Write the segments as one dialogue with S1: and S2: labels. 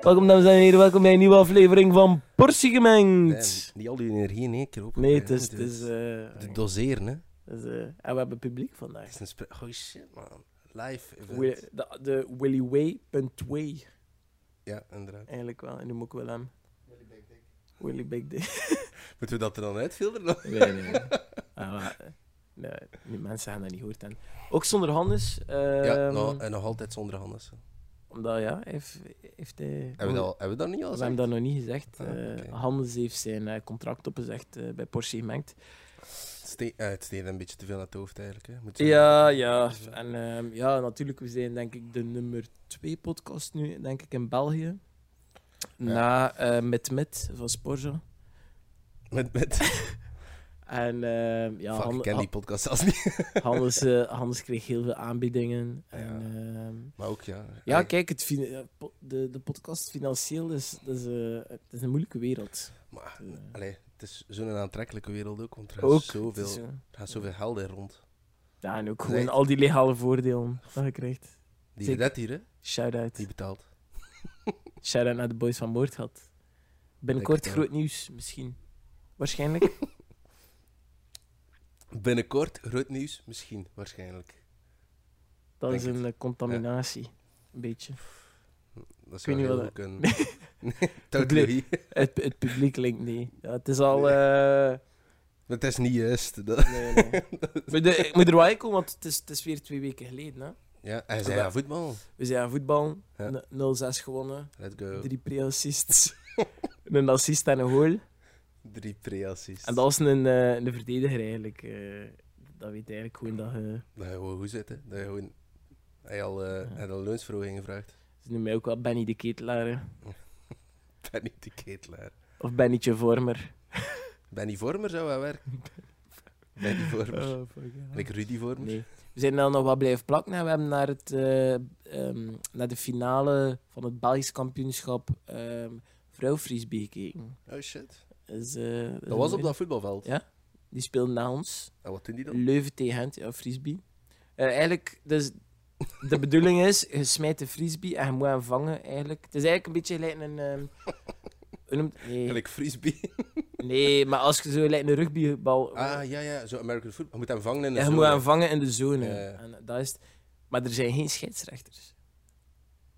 S1: Welkom dames en heren, welkom bij een nieuwe aflevering van Portie
S2: Eh,
S1: Gemengd.
S2: Niet al die energie in één keer op.
S1: Nee, het is... Het is, eh,
S2: De doseren, hè.
S1: het is, eh, en we hebben publiek vandaag.
S2: Het is een spe- Goeie shit, man. Live event.
S1: Wi- De, de Willy Way.way,
S2: Ja, inderdaad.
S1: eigenlijk wel. En nu moet ik wel hem... Willy Big Dick.
S2: Moeten we dat er dan uitfilteren?
S1: Willy Big Dick. Nee, nee, nee. Ah, maar, eh, nee, die mensen gaan dat niet hoort. En ook zonder Hannes. ehm,
S2: ja, nou, en nog altijd zonder handen. zo.
S1: Omdat, ja, heeft... heeft hij,
S2: Hebben we dat, al- hebben we dat niet al
S1: We
S2: gezegd?
S1: hebben dat nog niet gezegd.
S2: Ah,
S1: Eh,
S2: oké.
S1: Hannes heeft zijn eh, contract opgezegd eh, bij Porsche Gemengd.
S2: Het steekt- eh, het steekt een beetje te veel naar het hoofd, eigenlijk. Hè. Moet zo- Dus, eh,
S1: Ja, ja. En ehm, ja, natuurlijk, we zijn denk ik de nummer twee podcast nu, denk ik, in België. Na eh, Met Met van Sporza.
S2: Met, met...
S1: En ehm, ja,
S2: Fuck,
S1: Han-
S2: ik ken die podcast zelfs niet.
S1: Han- Hannes, eh, Hannes kreeg heel veel aanbiedingen. En,
S2: Ja.
S1: ehm,
S2: Maar ook, ja.
S1: ja,
S2: Allee,
S1: kijk, het fin- eh, po- de, de podcast financieel is, dat is, eh, het is een moeilijke wereld.
S2: Maar,
S1: Eh,
S2: allee, het is zo'n aantrekkelijke wereld ook, want er gaat,
S1: ook,
S2: zoveel,
S1: het is, eh,
S2: er gaat zoveel geld in rond.
S1: ja, en ook gewoon
S2: Nee.
S1: al die legale voordelen dat je krijgt.
S2: Die
S1: Zeker.
S2: redt hier, hè.
S1: Shout-out.
S2: Die betaalt.
S1: Shout-out naar de boys van Moordgat. Binnenkort
S2: het wel.
S1: groot nieuws, misschien. Waarschijnlijk.
S2: Binnenkort, groot nieuws, misschien, waarschijnlijk.
S1: Dat is
S2: Denk
S1: een eh, contaminatie. Een beetje.
S2: Dat
S1: weet
S2: zou
S1: niet
S2: heel
S1: wat
S2: goed kunnen. Nee, Tout Louis.
S1: Het, het publiek linkt niet. Ja, het is al...
S2: Nee.
S1: eh,
S2: Maar het is niet juist. Dat...
S1: nee, nee. Maar de- ik moet er wel in komen, want het is, het is weer twee weken geleden. Hè?
S2: Ja, hij zei ja, voetbal.
S1: We zijn aan voetbal.
S2: Ja.
S1: n- 0-6 gewonnen.
S2: Let's go.
S1: Drie pre-assists. een assist en een goal.
S2: Drie pre-assists.
S1: En dat was een, eh, een verdediger eigenlijk. eh, dat weet eigenlijk gewoon dat eh, je...
S2: Dat je gewoon goed zit, hè. Dat je gewoon... Hij al, eh
S1: Ja.
S2: had al loonsverhoging gevraagd.
S1: Ze noemen mij ook wel Benny de Ketelaar. hè.
S2: Benny de Ketelaar.
S1: Of Bennytje Vormer.
S2: Benny Vormer zou wel werken. Benny Vormer.
S1: Oh, fuck, ja.
S2: Like Rudy Vormer.
S1: Nee. We zijn dan nog wat blijven plakken. en We hebben naar, het, eh, ehm, naar de finale van het Belgisch kampioenschap ehm vrouwfrisbee gekeken.
S2: Oh shit.
S1: Dus, eh, is
S2: Dat was
S1: een-
S2: op dat voetbalveld.
S1: Ja. Die speelden na ons.
S2: En wat doen die dan?
S1: Leuven tegen Gent, ja, frisbee. Eh, eigenlijk, dus de bedoeling is, je smijt de frisbee en je moet hem vangen eigenlijk. Het is eigenlijk een beetje gelijk een... ehm, hoe noemt- nee,
S2: Like frisbee.
S1: nee, maar als je zo gelijk een rugbybal...
S2: Ah, ja, ja. Zo American football. Je moet hem vangen in
S1: Oh. Ja,
S2: de
S1: je
S2: zone.
S1: moet hem vangen in de zone.
S2: Ja, ja.
S1: En dat is het. Maar er zijn geen scheidsrechters.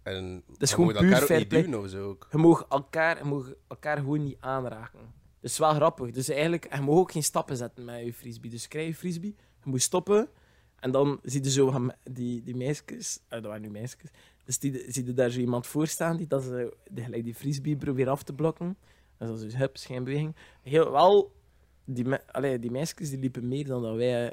S2: En dat
S1: is gewoon puur
S2: elkaar ook
S1: fair
S2: niet
S1: play.
S2: doen of zo ook.
S1: Je mag elkaar, je mag elkaar gewoon niet aanraken. Dat is wel grappig. Dus eigenlijk, en je mag ook geen stappen zetten met je frisbee. Dus krijg je frisbee, je moet stoppen. En dan zie je zo hem- die, die meisjes, eh, dat waren nu meisjes, dus die, zie je daar zo iemand voor staan die, dat ze, die gelijk die frisbee probeert af te blokken. En dat is dus hups, geen beweging. Heel wel, die, me, allee, die meisjes die liepen meer dan dat wij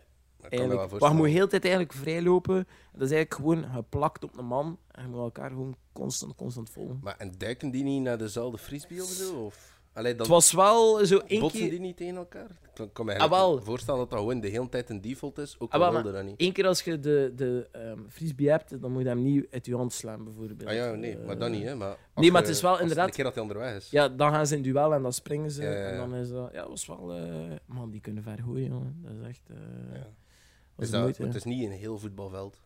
S1: eh,
S2: Dat kan me wel
S1: eigenlijk... Maar je
S2: voorstellen.
S1: moet heel de tijd eigenlijk vrijlopen. Dat is eigenlijk gewoon geplakt op een man. En je moet elkaar gewoon constant, constant volgen.
S2: Maar en duiken die niet naar dezelfde frisbee of zo? Of... Allee, dan
S1: Het was wel zo één
S2: botsen
S1: keer,
S2: die niet tegen elkaar? Ik kan- kan me
S1: Ah,
S2: eigenlijk
S1: wel.
S2: voorstellen dat dat gewoon de hele tijd een default is, ook
S1: Ah,
S2: al
S1: wel,
S2: wilde dat niet.
S1: één keer als je de, de ehm frisbee hebt, dan moet je hem niet uit je hand slaan, bijvoorbeeld.
S2: Ah ja, nee, maar dat
S1: Eh,
S2: niet, hè. Maar als
S1: nee, maar
S2: je-
S1: het is wel
S2: als
S1: inderdaad-
S2: Een keer dat hij onderweg is.
S1: Ja, dan gaan ze in duel en dan springen ze.
S2: Ja, ja, ja.
S1: En dan is dat... Ja, dat was wel... eh, man, die kunnen ver gooien, jongen. Dat is echt... eh,
S2: Ja.
S1: was de
S2: Is dat-
S1: moeite.
S2: het is niet een heel voetbalveld.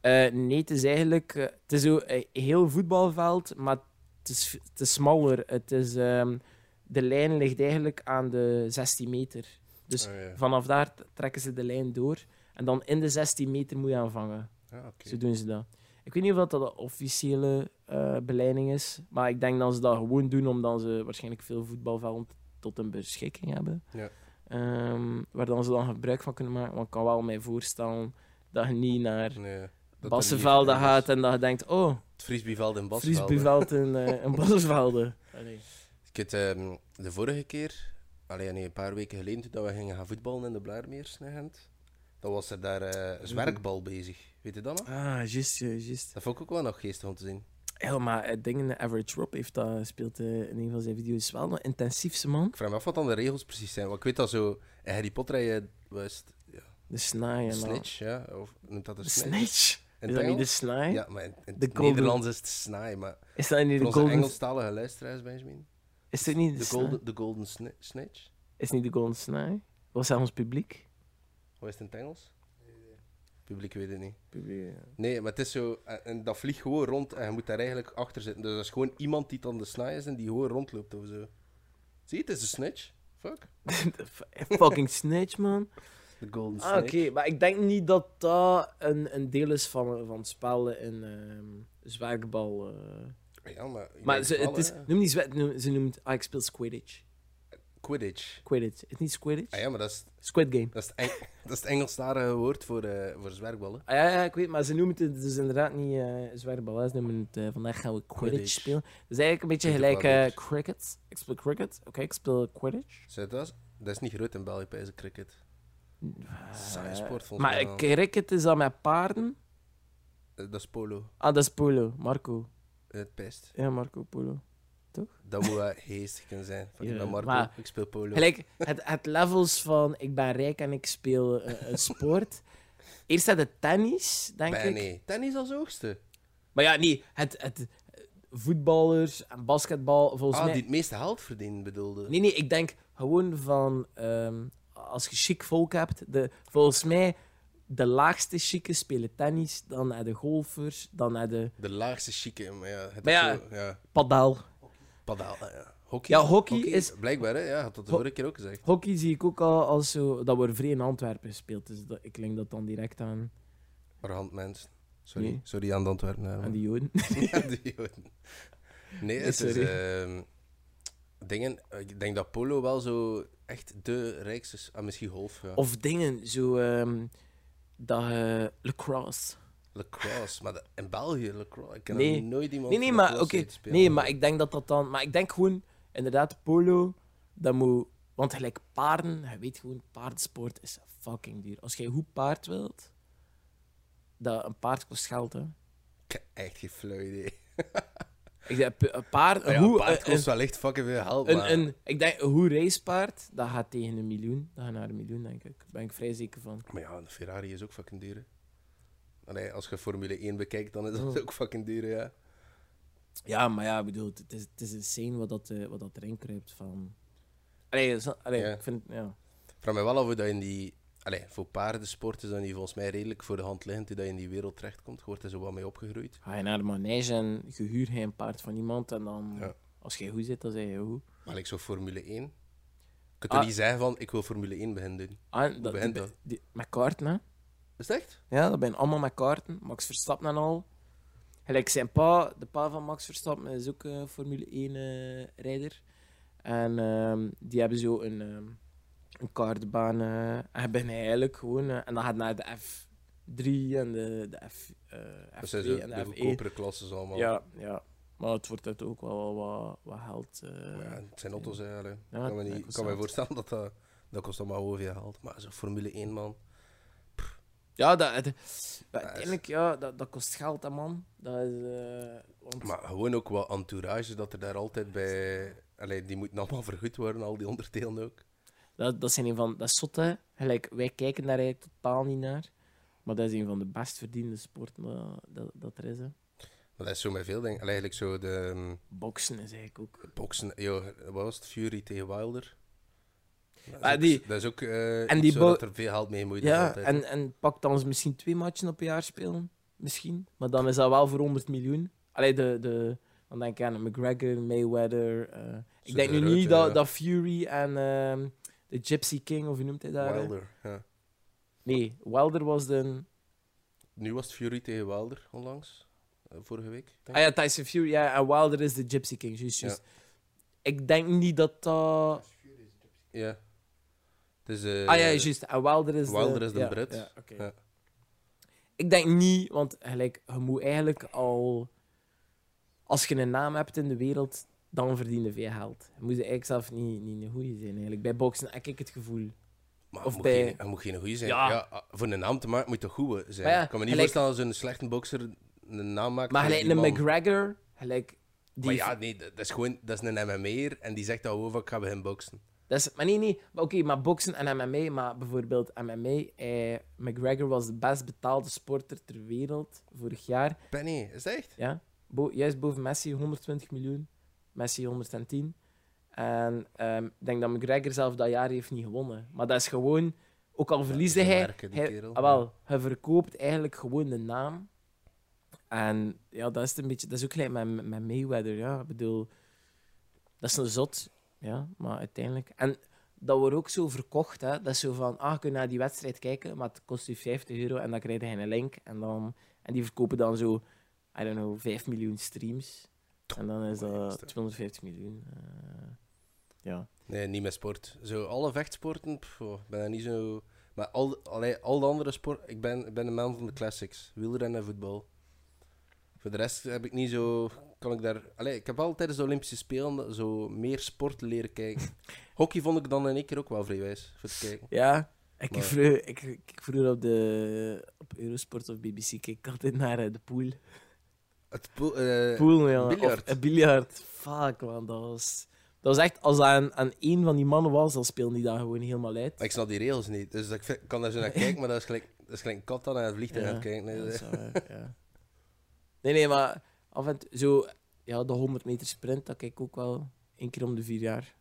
S1: Eh, nee, het is eigenlijk... eh, het is zo een heel voetbalveld, maar het is, het is smaller. Het is... ehm, de lijn ligt eigenlijk aan de 16 meter. Dus
S2: Ah, ja.
S1: Vanaf daar t- trekken ze de lijn door. En dan in de 16 meter moet je aanvangen.
S2: Ah, oké.
S1: Zo doen ze dat. Ik weet niet of dat de officiële eh beleiding is, maar ik denk dat ze dat gewoon doen omdat ze waarschijnlijk veel voetbalvelden tot hun beschikking hebben.
S2: Ja.
S1: Ehm, waar dan ze dan gebruik van kunnen maken. Want ik kan wel mij voorstellen dat je niet naar
S2: Nee, dat er
S1: Bassenvelden
S2: niet echt
S1: gaat
S2: is.
S1: en dat je denkt, oh,
S2: Het frisbeeveld in Bassenvelden. Ah,
S1: Friesbuurveld in, eh in Bassenvelden.
S2: Ik had, ehm, de vorige keer, allee, nee, een paar weken geleden, toen dat we gingen gaan voetballen in de Blaarmeers, naar Gent, dan was er daar eh
S1: Mhm.
S2: een zwerkbal bezig. Weet je dat nog?
S1: Ah, juist, juist. juist.
S2: Dat vond ik ook wel nog geestig om te zien.
S1: Ja, maar het ding in de Average Rob heeft dat, speelt eh, in een van zijn video's wel een intensiefste man.
S2: Ik vraag me af wat dan de regels precies zijn. Want ik weet dat zo in Harry Potter had je was het
S1: De snaai en al.
S2: snitch, ja? Of noemt dat
S1: De
S2: een snitch?
S1: snitch.
S2: In
S1: is
S2: het
S1: dat niet de
S2: Engels?
S1: snaai?
S2: Ja, maar in, in
S1: De
S2: het
S1: golden-
S2: Nederlands is het snaai, maar
S1: Is dat niet
S2: voor
S1: de
S2: onze
S1: golden...
S2: Engelstalige luisteraars, Benjamin,
S1: Is het niet de,
S2: de
S1: snaai?
S2: golden, de golden sni- snitch,
S1: Is het niet de golden snaai? Wat zei ons publiek?
S2: hoe is het in het Engels? publiek weet het niet.
S1: Publiek, ja.
S2: Nee, maar het is zo... En en dat vliegt gewoon rond en je moet daar eigenlijk achter zitten. Dus dat is gewoon iemand die het aan de snaai is en die gewoon rondloopt of zo. Zie je, het is een snitch. Fuck.
S1: eh, Fucking snitch, man.
S2: De golden
S1: Ah, oké, maar ik denk niet dat dat een, een deel is van, van het spel in ehm zwerkbal. eh.
S2: Ja, maar... ik
S1: Maar
S2: denk
S1: ze,
S2: wel,
S1: het is,
S2: hè.
S1: noem niet zwerk, noem- ze noemt. Ah, ik speel Squidditch.
S2: Quidditch.
S1: Squidditch. Is het niet Squidditch?
S2: Ah ja, maar dat is,
S1: Squid Game.
S2: dat is, het, Eng- dat is het Engelstalige woord voor, eh voor zwerkballen.
S1: Ah, ja, ja, ik weet, maar ze noemen het dus inderdaad niet eh zwerkbal. hè. Ze noemen het eh, vandaag gaan we Quidditch,
S2: Quidditch.
S1: spelen. Dat is eigenlijk een beetje
S2: Ik doe
S1: gelijk eh,
S2: Quidditch.
S1: cricket. Ik speel cricket. Oké, ik speel Quidditch.
S2: Zet dat? Dat is niet groot in België, bij cricket. Saai sport,
S1: Eh,
S2: volgens
S1: Maar
S2: mij
S1: eh,
S2: wel.
S1: cricket is dan met paarden.
S2: Eh, Dat is polo. eh,
S1: Ah, dat is polo. Marco.
S2: Het pest.
S1: Ja, Marco Polo.
S2: Dat moet wel geestig kunnen zijn. Van,
S1: Ja,
S2: ik ben Marco,
S1: maar-
S2: ik speel polo.
S1: Gelijk, het, het levels van ik ben rijk en ik speel eh, een sport. Eerst had het tennis, denk
S2: Ben,
S1: ik.
S2: nee. Tennis als hoogste.
S1: Maar ja, nee, het, het voetballers en basketbal, volgens
S2: Ah,
S1: mij...
S2: die het meeste geld verdienen bedoelde.
S1: Nee, nee, ik denk gewoon van... ehm, als je chic volk hebt, de, volgens mij... De laagste chique spelen tennis, dan naar de golfers, dan naar de
S2: De laagste chique, maar ja. Het
S1: Maar
S2: is
S1: ja.
S2: zo- ja.
S1: padel.
S2: Padel, eh, ja. Hockey.
S1: Ja, hockey is...
S2: Blijkbaar, hè. Ja, had dat de
S1: Ho-
S2: vorige keer ook gezegd.
S1: Hockey zie ik ook al als zo... Dat wordt vrij in Antwerpen gespeeld, dus dat, ik link dat dan direct aan,
S2: Arhand mens. Sorry,
S1: Nee. Ah,
S2: sorry aan de Antwerpenaren.
S1: aan de Joden.
S2: Ja, die Joden. Nee, het is...
S1: sorry.
S2: ehm, dingen, ik denk dat polo wel zo echt de rijkste is. Ah, misschien golf, ja.
S1: Of dingen, zo... ehm dat, eh, lacrosse.
S2: Lacrosse, maar dat- in België, lacrosse. Ik ken
S1: Nee.
S2: nog nooit iemand
S1: Nee, nee,
S2: die
S1: maar oké.
S2: lacrosse heeft spelen.
S1: Nee, maar ik denk dat dat dan... Maar ik denk gewoon, inderdaad, polo, dat moet... Want gelijk paarden, je weet gewoon, paardensport is fucking duur. Als jij goed paard wilt, dat een paard kost geld, hè.
S2: Ik heb echt geen flauw idee.
S1: Ik denk, een paard...
S2: Ja,
S1: Ah Een,
S2: een
S1: hoe, eh,
S2: paard
S1: een,
S2: kost wellicht fucking veel geld,
S1: een-
S2: maar...
S1: een- ik denk, een goed racepaard, dat gaat tegen een miljoen. Dat gaat naar een miljoen, denk ik. Daar ben ik vrij zeker van.
S2: Maar ja, een Ferrari is ook fucking duur, hè. Allee, als je Formule 1 bekijkt, dan is dat ook fucking duur, ja.
S1: Ja, maar ja, ik bedoel, het is, het is insane wat dat, eh, wat dat erin kruipt van... Allee, zo- allee
S2: Ja.
S1: ik vind... Ja.
S2: Ik vraag me wel af hoe dat in die... Allee, voor paardensport is dat niet volgens mij redelijk voor de hand liggend hoe dat je in die wereld terechtkomt. Je wordt er zo wat mee opgegroeid.
S1: Ga je naar de manege en je huurt je een paard van iemand en dan...
S2: Ja.
S1: Als jij goed zit, dan zeg je goed.
S2: Maar ik zo Formule 1... Ik kan toch
S1: Ah.
S2: niet zeggen van, ik wil Formule 1 beginnen doen.
S1: Ah, dat-
S2: begint
S1: die-
S2: dat?
S1: die- met kaarten, hè.
S2: Is het echt?
S1: Ja, dat zijn allemaal met kaarten. Max Verstappen en al. Gelijk zijn pa, de pa van Max Verstappen, is ook eh, Formule 1-rijder. en ehm, die hebben zo een, ehm een kaartbaan. eh, en je begint eigenlijk gewoon... eh, en dan gaat naar de F3 en de, de F, eh,
S2: Dat zijn
S1: F2
S2: zo
S1: en
S2: de
S1: de F1.
S2: goedkopere klassen allemaal.
S1: Ja, ja. Maar het wordt uit ook wel wat, wat geld. eh,
S2: Maar ja, het zijn auto's eigenlijk. Ik
S1: Ja,
S2: kan me,
S1: dat
S2: niet,
S1: kost
S2: kan me
S1: geld.
S2: voorstellen dat dat... Dat kost allemaal gewoon veel geld. Maar zo'n Formule 1, man...
S1: Ja, dat, het-
S2: dat is-
S1: uiteindelijk, ja, dat, dat kost geld, hè, man. Dat is, eh, want,
S2: Maar gewoon ook wat entourage dat er daar altijd bij. Allee, die moeten allemaal vergoed worden, al die onderdelen ook.
S1: dat, dat zijn een van... Dat is zot, hè. Gelijk, wij kijken daar eigenlijk totaal niet naar. Maar dat is een van de best verdiende sporten dat, dat, dat er is, hè.
S2: Maar dat is zo met veel dingen. Allee, eigenlijk zo de ehm,
S1: Boksen is eigenlijk ook...
S2: boksen. Yo, wat was het? Fury tegen Wilder. Dat
S1: Maar
S2: is ook-
S1: Ah, die-
S2: dat is ook eh,
S1: en
S2: iets
S1: die
S2: zo
S1: bo-
S2: dat er veel geld mee moet.
S1: Ja, en, en pak dan eens misschien twee matchen op een jaar spelen. Misschien. Maar dan is dat wel voor 100 miljoen. Allee, de... de dan denk ik aan McGregor, Mayweather. eh. ik
S2: Zo
S1: denk
S2: de
S1: nu niet
S2: reuter,
S1: dat,
S2: ja.
S1: dat Fury en ehm, de Gypsy King, of hoe noemt hij dat? hè?
S2: Wilder. Ja.
S1: Nee, Wilder was de...
S2: Nu was het Fury tegen Wilder onlangs. eh, vorige week. denk
S1: Ah ja, Tyson Fury ja, en Wilder is de Gypsy King, juist, juist. Ik denk niet dat dat...
S2: ik. Ja. Het is, eh,
S1: ah ja, juist. En Wilder is de...
S2: Wilder is de
S1: ja,
S2: Brit.
S1: ja, oké.
S2: Ja.
S1: Ik denk niet, want gelijk, je moet eigenlijk al... Als je een naam hebt in de wereld, dan verdien je veel geld. Je moet eigenlijk zelf niet, niet een goeie zijn, eigenlijk. Bij boksen heb ik het gevoel.
S2: Maar
S1: Of
S2: moet
S1: bij-
S2: geen, hij moet geen goeie zijn.
S1: Ja.
S2: Ja. ah, voor een naam te maken moet toch goed eh, zijn.
S1: Maar ja,
S2: ik kan me niet
S1: gelijk-
S2: voorstellen dat zo'n slechte bokser een naam maakt.
S1: Maar
S2: voor
S1: gelijk
S2: die
S1: een
S2: man.
S1: McGregor, gelijk... Die
S2: Maar ja, nee, dat dat is gewoon dat is een MMA'er en die zegt dat over ik ga bij hem boksen.
S1: Dat is, maar nee, nee. Maar oké, maar boksen en MMA. Maar bijvoorbeeld MMA. Eh, McGregor was de best betaalde sporter ter wereld vorig jaar.
S2: Penny, is dat echt?
S1: Ja. Bo- juist boven Messi, 120 miljoen. Messi 110. En ehm, ik denk dat McGregor zelf dat jaar heeft niet gewonnen. Maar dat is gewoon Ook al verliesde
S2: is een
S1: hij,
S2: werker, die
S1: hij,
S2: kerel,
S1: ah, wel, hij verkoopt eigenlijk gewoon de naam. En ja, dat is het een beetje, dat is ook gelijk met, met Mayweather, ja. Ik bedoel, dat is een zot, ja, maar uiteindelijk. En dat wordt ook zo verkocht, hè. Dat is zo van, ah, je kunt naar die wedstrijd kijken, maar het kost je 50 euro en dan krijg je een link. En, dan, en die verkopen dan zo, I don't know, 5 miljoen streams. En dan is dat 250 miljoen. eh, ja.
S2: Nee, niet met sport. Zo, alle vechtsporten, pff, oh, ik ben daar niet zo... Maar al, allee, al de andere sport, ik ben, ik ben een man van de classics. Wielrennen en voetbal. Voor de rest heb ik niet zo... Kan ik daar... Allee, ik heb al tijdens de Olympische Spelen zo meer sport leren kijken. Hockey vond ik dan in één keer ook wel vrij wijs, voor te kijken.
S1: Ja, ik
S2: Maar-
S1: vroeg, ik, ik keek vroeger op, de, op Eurosport of BBC keek ik altijd naar eh, de pool.
S2: Het po- eh,
S1: Pool, ja.
S2: biljart.
S1: Of, eh, biljart. Fuck, man. Dat was, dat was echt, als dat aan, aan één van die mannen was, dan speelde die dat gewoon helemaal uit.
S2: maar ik snap die regels niet, dus ik vind- kan daar zo naar kijken, maar dat is gelijk, dat is gelijk een kat dan naar het vliegtuig
S1: Ja,
S2: aan het kijken.
S1: ja,
S2: Nee,
S1: dat
S2: nee.
S1: is wel waar, ja. Nee, nee, maar af en toe, zo, ja, de 100 meter sprint, dat kijk ik ook wel één keer om de vier jaar.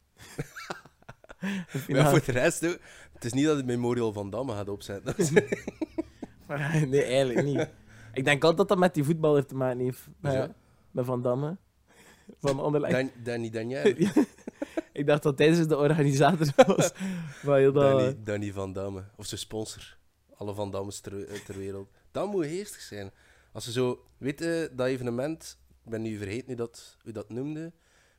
S1: De
S2: Maar
S1: finale.
S2: voor de rest, ook, het is niet dat het Memorial van Damme gaat opzetten.
S1: Maar nee, eigenlijk niet. Ik denk altijd dat dat met die voetbal heeft te maken heeft. Met,
S2: Hoezo?
S1: met Van Damme. Van Anderlecht.
S2: Dan, Danny Daniel.
S1: Ik dacht dat tijdens de organisator was. Maar heel dat...
S2: Danny, Danny Van Damme. Of zijn sponsor. Alle Van Dammes ter, eh, ter wereld. Dat moet heerstig zijn. Als ze zo... Weet je, dat evenement... Ik ben nu vergeten hoe dat, hoe dat noemde.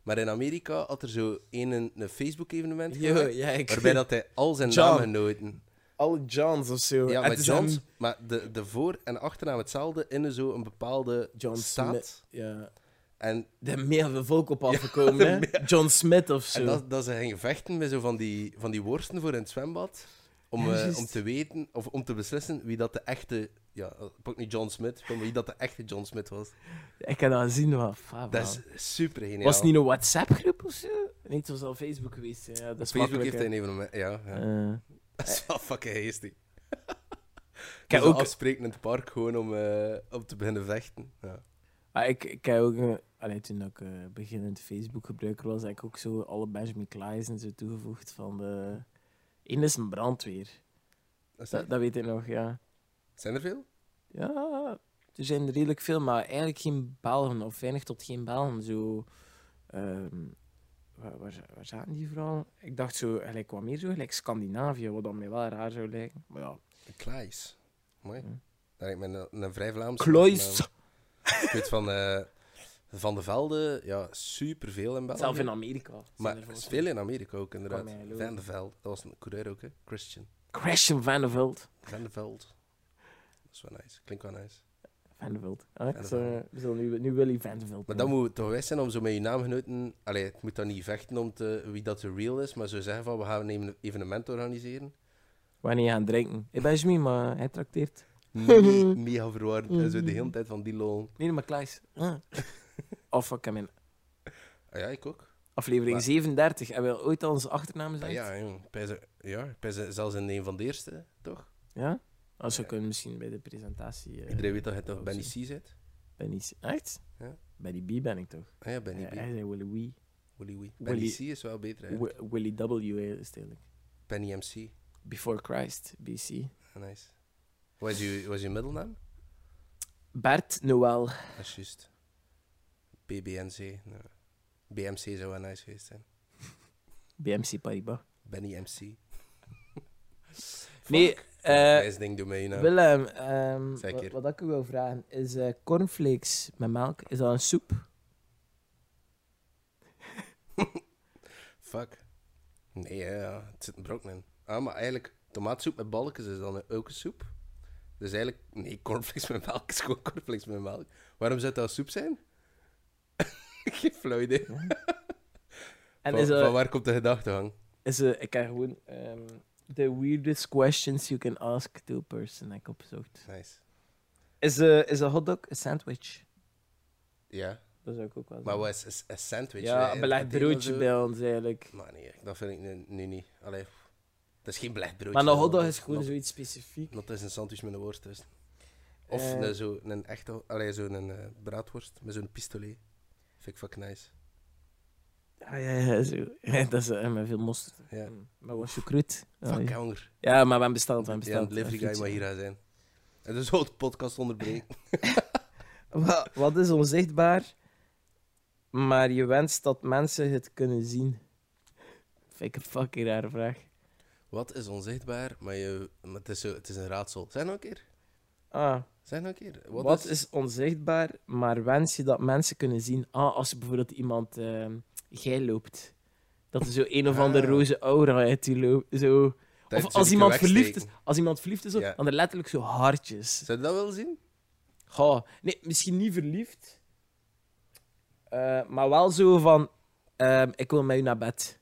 S2: Maar in Amerika had er zo een, een Facebook-evenement
S1: Yo,
S2: gemaakt,
S1: ja, ik...
S2: Waarbij dat hij al zijn
S1: John.
S2: namen genoten.
S1: Alle Johns of zo.
S2: Ja,
S1: Het
S2: met
S1: is
S2: Johns.
S1: hem-
S2: Maar de, de voor- en achternaam hetzelfde in een zo een bepaalde
S1: John
S2: staat.
S1: Smith. Ja.
S2: En,
S1: Daar hebben meer veel volk op afgekomen, hè. John Smith of zo.
S2: en dat, dat ze gingen vechten met zo van die, van die worsten voor in het zwembad. Om,
S1: Ja,
S2: eh,
S1: juist.
S2: om te weten, of om te beslissen wie dat de echte... Ja, eh, pak nu John Smith. Van wie dat de echte John Smith was.
S1: Ik kan dat zien, maar... fab,
S2: Dat
S1: man.
S2: is super geniaal.
S1: Ah. Was het niet een WhatsApp-groep of zo? Nee, het was al Facebook geweest. Ja, dat is
S2: Facebook heeft
S1: makkelijk,
S2: een evenement. Ja, ja.
S1: hè. Eh,
S2: dat is wel fucking geestig. Ik
S1: heb
S2: heb ook
S1: ook-
S2: afspreken in het park gewoon om, eh, om te beginnen vechten. Ja.
S1: Maar ah, ik, ik heb ook... eh, allee, toen ik eh, beginnend Facebook-gebruiker was, heb ik ook zo alle Benjamin Klai's en zo toegevoegd van de... Eén is een brandweer.
S2: Dat is
S1: Dat, dat weet ik nog, ja.
S2: Zijn er veel?
S1: Ja, er zijn er redelijk veel, maar eigenlijk geen Belgen, of weinig tot geen Belgen. Zo, ehm, waar, waar, waar zaten die vooral? Ik dacht zo, gelijk wat meer zo, gelijk Scandinavië, wat dan mij wel raar zou lijken. Maar ja,
S2: Klaes. Mooi.
S1: Hm.
S2: Dat lijkt me een, een vrij Vlaamse.
S1: Klois!
S2: naam. Ik weet van, eh, van de Velde, ja, superveel in België.
S1: Zelf in Amerika. zijn
S2: Maar
S1: er volgens mij.
S2: veel in Amerika ook, inderdaad.
S1: Kan mij geloven.
S2: Van de Velde, dat was een coureur ook, hè? Christian.
S1: Christian Van der Veld.
S2: Van de Velde. Dat is wel nice, klinkt wel nice.
S1: Van der Veld. Ah, ik
S2: der
S1: zal-
S2: Veld.
S1: we zullen nu, nu Willy Van der Veld.
S2: Maar dan
S1: noemen.
S2: moet het toch wijs zijn om zo met je naamgenoten... Allee, het moet dan niet vechten om te, wie dat de real is, maar zo zeggen van, we gaan een evenement organiseren.
S1: Wanneer je gaat drinken. Ik ben Jimmy, maar hij trakteert.
S2: Me- Mega verwarrend. En zo de hele tijd van die lol.
S1: Nee, maar Klaes. Ah. Of ik heb in
S2: Ah ja, ik ook.
S1: aflevering
S2: Maar-
S1: 37 hebben we ooit al onze achternaam
S2: Ah
S1: gezegd.
S2: ja, jong. Ik ben ze- Ja, ik ben ze- zelfs in een van de eerste, toch?
S1: Ja? Als we
S2: Ja.
S1: kunnen misschien bij de presentatie. eh,
S2: Iedereen weet dat je toch
S1: dat
S2: Benny C
S1: was-
S2: zit?
S1: ben ik... Echt?
S2: Ja.
S1: Bij die B ben ik toch?
S2: Ah ja, Benny
S1: Ja,
S2: B.
S1: Hij zei Willy Wee.
S2: Willy Wee.
S1: Willy-
S2: Benny C is wel beter, hè?
S1: Wi- Willy W eh, is het eigenlijk.
S2: Benny MC.
S1: Before Christ, BC.
S2: Ah, Nice. Wat is je, wat is je middelnaam?
S1: Bert Noël.
S2: Dat is juist. BBNC. nou, BMC zou wel nice geweest zijn.
S1: BMC Paribas.
S2: Benny MC.
S1: Nee, eh,
S2: Wijs ding doe mee, nou.
S1: Willem, ehm,
S2: Zeg
S1: wat,
S2: hier.
S1: wat ik u wil vragen is: eh, cornflakes met melk, is dat een soep?
S2: Fuck. Nee, ja, ja, het zit een brokken in. Ah, maar eigenlijk, tomaatsoep met balkjes is dan ook een soep. Dus eigenlijk, nee, cornflakes met melk is gewoon cornflakes met melk. Waarom zou dat soep zijn? Geen flauw idee.
S1: En
S2: van,
S1: is dat,
S2: van waar komt de gedachtegang?
S1: is eh, ik heb gewoon ehm, the weirdest questions you can ask to a person, heb ik opgezocht.
S2: Nice.
S1: Is, eh, is een hotdog een sandwich?
S2: Ja,
S1: Dat zou ik ook wel
S2: maar
S1: zeggen.
S2: wat is- is een sandwich?
S1: ja,
S2: hè?
S1: een belegd
S2: Potato
S1: broodje
S2: zo?
S1: bij ons dus eigenlijk.
S2: Maar nee, dat vind ik nu, nu niet. Allee, dat is geen belegd broodje.
S1: Maar een hotdog
S2: dat
S1: is gewoon
S2: dat-
S1: zoiets specifiek.
S2: Dat is een sandwich met een worst tussen. Of
S1: Eh.
S2: een, zo, een echte, allee, zo'n eh, braadworst met zo'n pistolet. Vind ik fucking nice.
S1: Ah, Ja, ja, ja, zo. Ja, dat is eh, met veel mosterd.
S2: Ja.
S1: Mm. Maar gewoon chocroet. Ja,
S2: Fuck
S1: ja.
S2: honger.
S1: Ja, maar we hebben besteld. We
S2: Ja,
S1: hebben
S2: de
S1: besteld.
S2: delivery
S1: Even
S2: guy
S1: iets.
S2: mag hier aan zijn. En dus ook de podcast onderbreken.
S1: Wa- Wat is onzichtbaar, maar je wenst dat mensen het kunnen zien? Vind ik een fucking rare vraag.
S2: Wat is onzichtbaar, maar, je, maar het, is zo, het is een raadsel. Zijn nog een keer?
S1: Ah,
S2: Zijn nog een keer?
S1: wat is... onzichtbaar, maar wens je dat mensen kunnen zien? Ah, als je bijvoorbeeld iemand ehm gij loopt. Dat er zo een of andere
S2: Ah.
S1: roze aura uit die loopt. Zo.
S2: Dat
S1: Of
S2: ze
S1: als
S2: die
S1: iemand
S2: kunnen
S1: verliefd is,
S2: wegsteken.
S1: als iemand verliefd is, zo,
S2: Ja.
S1: dan er letterlijk zo hartjes.
S2: Zou je dat willen zien?
S1: Goh, nee, misschien niet verliefd. Eh, maar wel zo van, ehm, ik wil met u naar bed.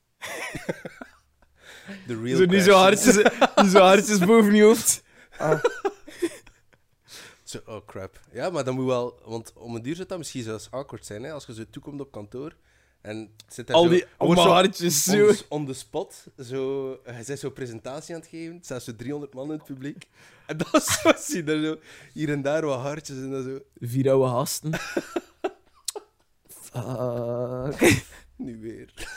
S2: The real
S1: zo, niet, zo
S2: passion.
S1: hartjes, niet zo hartjes boven je hoofd.
S2: Zo, oh crap. Ja, maar dan moet wel, want om een duur zou dat misschien zelfs awkward zijn, hè, als je zo toekomt op kantoor en het zit daar
S1: Al
S2: zo,
S1: die
S2: je wordt
S1: allemaal
S2: zo
S1: hartjes. Zo.
S2: On, on the spot, zo, hij zit zo'n presentatie aan het geven, er staan zo 300 man in het publiek. En dan zo, zie je daar zo hier en daar wat hartjes en dan zo,
S1: Vier oude hasten. Fuck.
S2: nu weer.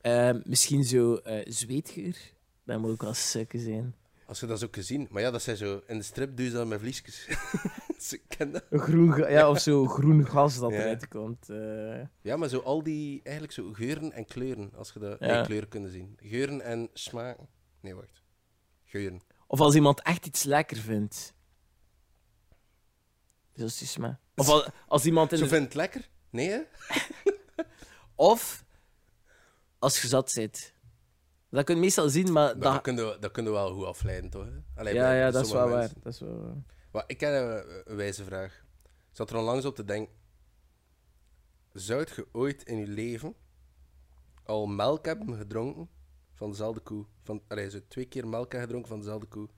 S1: Ehm, misschien zo eh zweetgeur. Dat moet ook wel sukken zijn.
S2: Als je dat zo gezien, maar ja, dat zijn zo, in de strip doe je dat met vliesjes. Ze kennen dat.
S1: Een Groen ga- ja, of zo groen gas dat
S2: Ja.
S1: eruit komt. eh.
S2: Ja, maar zo al die, eigenlijk zo geuren en kleuren, als je dat,
S1: Ja.
S2: nee, kleuren kunnen zien. Geuren en smaken. Nee, wacht. Geuren.
S1: Of als iemand echt iets lekker vindt. Zo is me. Of als, als iemand in
S2: Zo
S1: de-
S2: vindt het lekker? Nee, hè?
S1: Of als je zat zit. Dat kun je meestal zien, maar...
S2: Maar Dat,
S1: Dat...
S2: kunnen we, dat kunnen we wel goed afleiden, toch? hè? Allee,
S1: Ja,
S2: bij
S1: ja, dat is
S2: sommige
S1: wel waar.
S2: mensen.
S1: Dat is wel waar.
S2: Maar ik heb een, een wijze vraag. Ik zat er onlangs op te denken. Zou je ooit in je leven al melk hebben gedronken van dezelfde koe? Van, allee, zo twee keer melk hebben gedronken van dezelfde koe.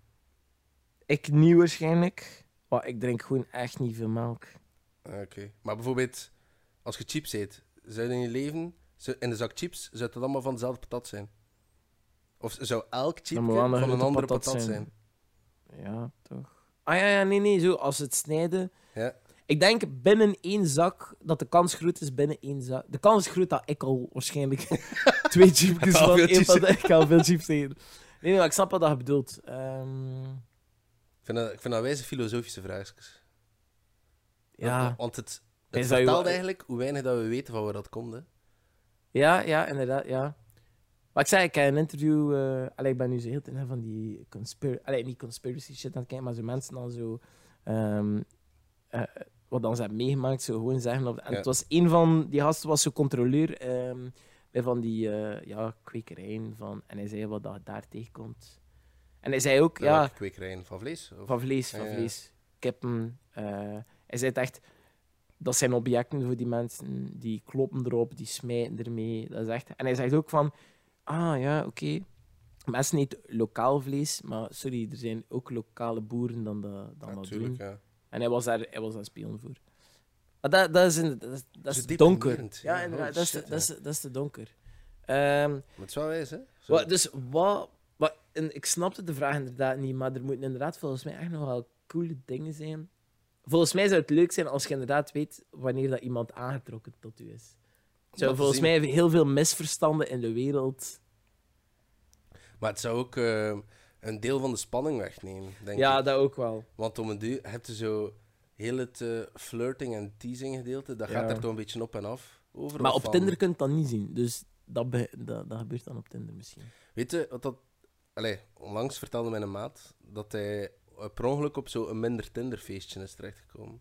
S1: Ik niet waarschijnlijk, maar ik drink gewoon echt niet veel melk.
S2: Ah, Oké. Maar bijvoorbeeld, als je chips eet, zou je in je leven, zou- in de zak chips, zou dat allemaal van dezelfde patat zijn? Of zou elk chipje
S1: moet wel een
S2: van een
S1: grote
S2: andere
S1: patat
S2: patat, zijn?
S1: zijn. Ja, toch? Ah ja, ja, nee, nee, zo als het snijden.
S2: Ja.
S1: Ik denk binnen één zak dat de kans groot is binnen één zak. De kans is groot dat ik al waarschijnlijk twee chipjes
S2: Al
S1: van
S2: veel
S1: één
S2: chips.
S1: patat. Ik al veel chips eten. Nee, nee, maar ik snap wat dat bedoelt. Ehm,
S2: Ik, vind dat, ik vind dat wijze filosofische vraagjes.
S1: ja.
S2: Want het,
S1: Is dat
S2: het
S1: je-
S2: vertelt eigenlijk hoe weinig dat we weten van waar dat komt. Hè.
S1: ja, ja, inderdaad, ja. Maar ik zei, ik heb een interview... eh allee, ik ben nu zo heel ten van die conspiracy... Allee, niet conspiracy shit aan het kijken, maar zo mensen dan zo... ehm, eh, wat dan ze hebben meegemaakt, zo gewoon zeggen... Of, en
S2: Ja.
S1: het was een van... Die gasten was zo controleur ehm, bij van die eh, ja, kwekerijen. Van, en hij zei wat dat daar tegenkomt. En hij zei ook,
S2: Van
S1: ja...
S2: welke Kwekerijen van vlees. Of...
S1: Van vlees,
S2: Ja,
S1: van
S2: ja.
S1: vlees. Kippen. eh, hij zei het echt, dat zijn objecten voor die mensen. Die kloppen erop, die smijten ermee. Dat is echt... En hij zegt ook van, ah ja, oké. Mensen eten lokaal vlees, maar sorry, er zijn ook lokale boeren dan dat, dan dat doen.
S2: Natuurlijk, ja.
S1: En hij was daar, hij was daar spion voor. Maar dat, dat is, in- dat is, dat
S2: Zo
S1: is donker.
S2: deprimerend.
S1: Ja,
S2: Ja,
S1: inderdaad,
S2: holy
S1: dat is,
S2: shit,
S1: dat is, dat is te donker. Ehm,
S2: Maar het is wel wijs, hè? Zo.
S1: Wa- dus wat, wat, en ik snapte de vraag inderdaad niet, maar er moeten inderdaad volgens mij echt nog wel coole dingen zijn. Volgens mij zou het leuk zijn als je inderdaad weet wanneer dat iemand aangetrokken tot u is.
S2: Om dat
S1: Zo,
S2: te
S1: volgens
S2: zien.
S1: mij heel veel misverstanden in de wereld.
S2: Maar het zou ook eh, een deel van de spanning wegnemen, denk
S1: Ja,
S2: ik.
S1: dat ook wel.
S2: Want om een duur heb je zo heel het eh, flirting en teasing gedeelte, dat
S1: Ja.
S2: gaat er toch een beetje op en af over.
S1: Maar
S2: of
S1: op
S2: van-
S1: Tinder kun je dat niet zien, dus dat, be- dat, dat gebeurt dan op Tinder misschien.
S2: Weet je, wat dat... Allee, onlangs vertelde mijn maat dat hij eh, per ongeluk op zo'n minder Tinderfeestje is terechtgekomen.